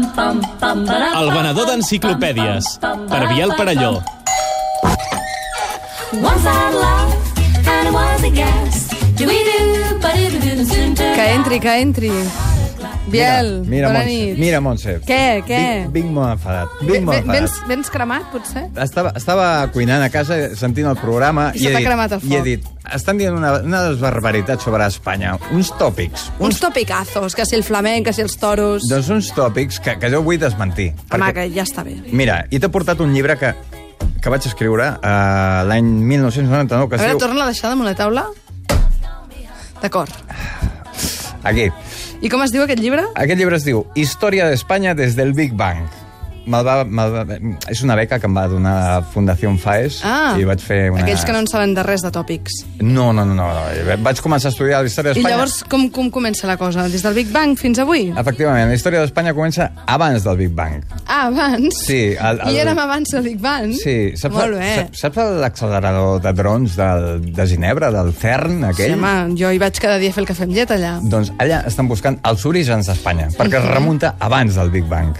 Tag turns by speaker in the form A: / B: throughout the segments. A: El venedor d'enciclopèdies, per Biel Parelló.
B: Once I loved, and it was a guess. Do-we-do, ba-do-ba-do, soon turned
C: Que entri, que entri. Biel,
D: mira,
C: bona
D: Montse,
C: nit.
D: Mira, Montse.
C: Què, què?
D: Vinc, vinc molt enfadat. Vinc molt
C: Ve- ve-
D: enfadat.
C: vens, vens cremat, potser?
D: Estava, estava cuinant a casa, sentint el programa...
C: I se
D: he
C: t'ha
D: dit-
C: cremat el foc.
D: I he dit, estan dient una, unes barbaritats sobre Espanya. Uns tòpics.
C: Uns topicazos, que si el flamenc, que si els toros...
D: Doncs uns tòpics que, que jo vull desmentir.
C: Home, que ja està bé.
D: Mira, i t'he portat un llibre que, que vaig escriure uh, l'any
C: A
D: 1999, que es
C: veure,
D: diu...
C: torna a deixar damunt la taula. D'acord.
D: Aquí.
C: I com es diu aquest llibre?
D: Aquest llibre es diu Història d'Espanya des del Big Bang. Me'l va, me'l va, és una beca que em va donar la Fundació FAES
C: Ah,
D: i vaig fer una...
C: aquells que no en saben de res de tòpics.
D: No, no, no, no. Vaig començar a estudiar la història
C: I
D: d'Espanya.
C: llavors, com, com comença la cosa? Des del Big Bang fins avui?
D: Efectivament, la història d'Espanya comença abans del Big Bang.
C: Ah, abans?
D: Sí, el- el-
C: I érem abans del Big Bang?
D: Sí, saps,
C: Molt bé.
D: saps- saps l'accelerador de drons del, de Ginebra, del CERN,
C: Sí,
D: aquell?
C: home, jo hi vaig cada dia a fer el cafè amb llet allà.
D: Doncs allà estan buscant els orígens d'Espanya, perquè es remunta abans del Big Bang.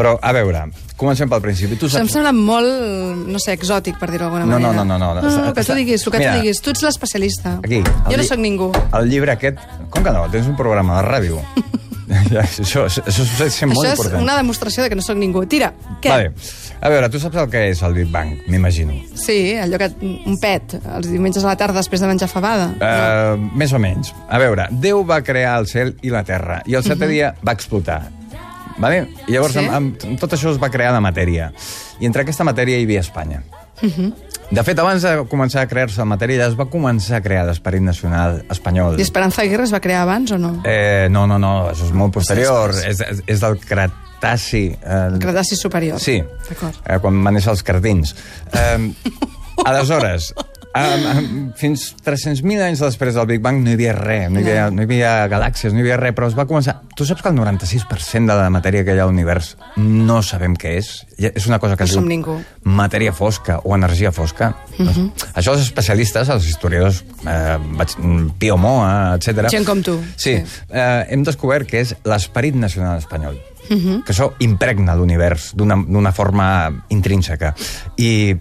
D: Però, a veure, comencem pel principi. Tu
C: Això em
D: saps...
C: sembla molt, no sé, exòtic, per dir-ho d'alguna
D: No, no,
C: manera.
D: no, no, no, no.
C: no, no, que tu diguis, el que
D: Mira.
C: tu diguis. Tu ets l'especialista.
D: Aquí, el
C: Jo no
D: lli-
C: sóc ningú.
D: El llibre aquest... Com que no? Tens un programa de ràdio. Ja, això, això, això és molt
C: Això és
D: important.
C: una demostració de que no sóc ningú. Tira, què?
D: Vale. A veure, tu saps el que és el Big Bang, m'imagino.
C: Sí, allò que... un pet, els diumenges a la tarda després de menjar fabada.
D: Uh, més o menys. A veure, Déu va crear el cel i la terra, i el setè dia va explotar. Vale? I llavors,
C: Mhm. Sí.
D: amb, amb, amb tot això es va crear la matèria. I entre aquesta matèria hi havia Espanya.
C: Mhm.
D: De fet, abans de començar a crear-se la matèria, ja es va començar a crear l'esperit nacional espanyol.
C: I Esperanza Aguirre es va crear abans o no?
D: Eh, no, no, no, això és molt posterior. És, és, és del Cretaci. Eh,
C: El Cretaci superior.
D: Sí,
C: D'acord.
D: eh, quan van néixer els cardins. Eh, aleshores, um, um, fins 300.000 anys després del Big Bang no hi havia res, no hi havia, no hi havia galàxies, no hi havia res, però es va començar... Tu saps que el 96% de la matèria que hi ha a l'univers no sabem què és? Ja- És una cosa que
C: No
D: es
C: som
D: diu
C: ningú. Mhm. matèria
D: matèria fosca o energia fosca. doncs, això els especialistes, els historiadors, eh, vaig- mm, Pio Moa, etc.
C: Gent com tu.
D: Sí,
C: Sí.
D: eh, hem descobert que és l'esperit nacional espanyol. Uh
C: Mhm.
D: -huh. Que això impregna l'univers d'una d'una forma intrínseca. I,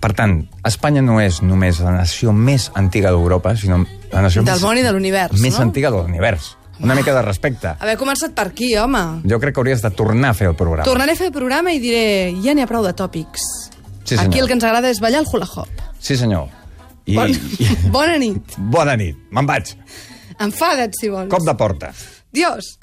D: per tant, Espanya no és només la nació més antiga d'Europa, sinó la nació
C: Del
D: més,
C: món i de l'univers,
D: més
C: no?
D: antiga de l'univers. Una mica de respecte.
C: Haver començat per aquí, home.
D: Jo crec que hauries de tornar a fer el programa.
C: Tornaré a fer el programa i diré, ja n'hi ha prou de tòpics.
D: Sí, senyor.
C: Aquí el que ens agrada és ballar el hula-hop.
D: Sí, senyor. I,
C: Bon...
D: i,
C: Bona nit.
D: Bona nit, me'n vaig.
C: Enfada't, si vols.
D: Cop de porta.
C: Dios.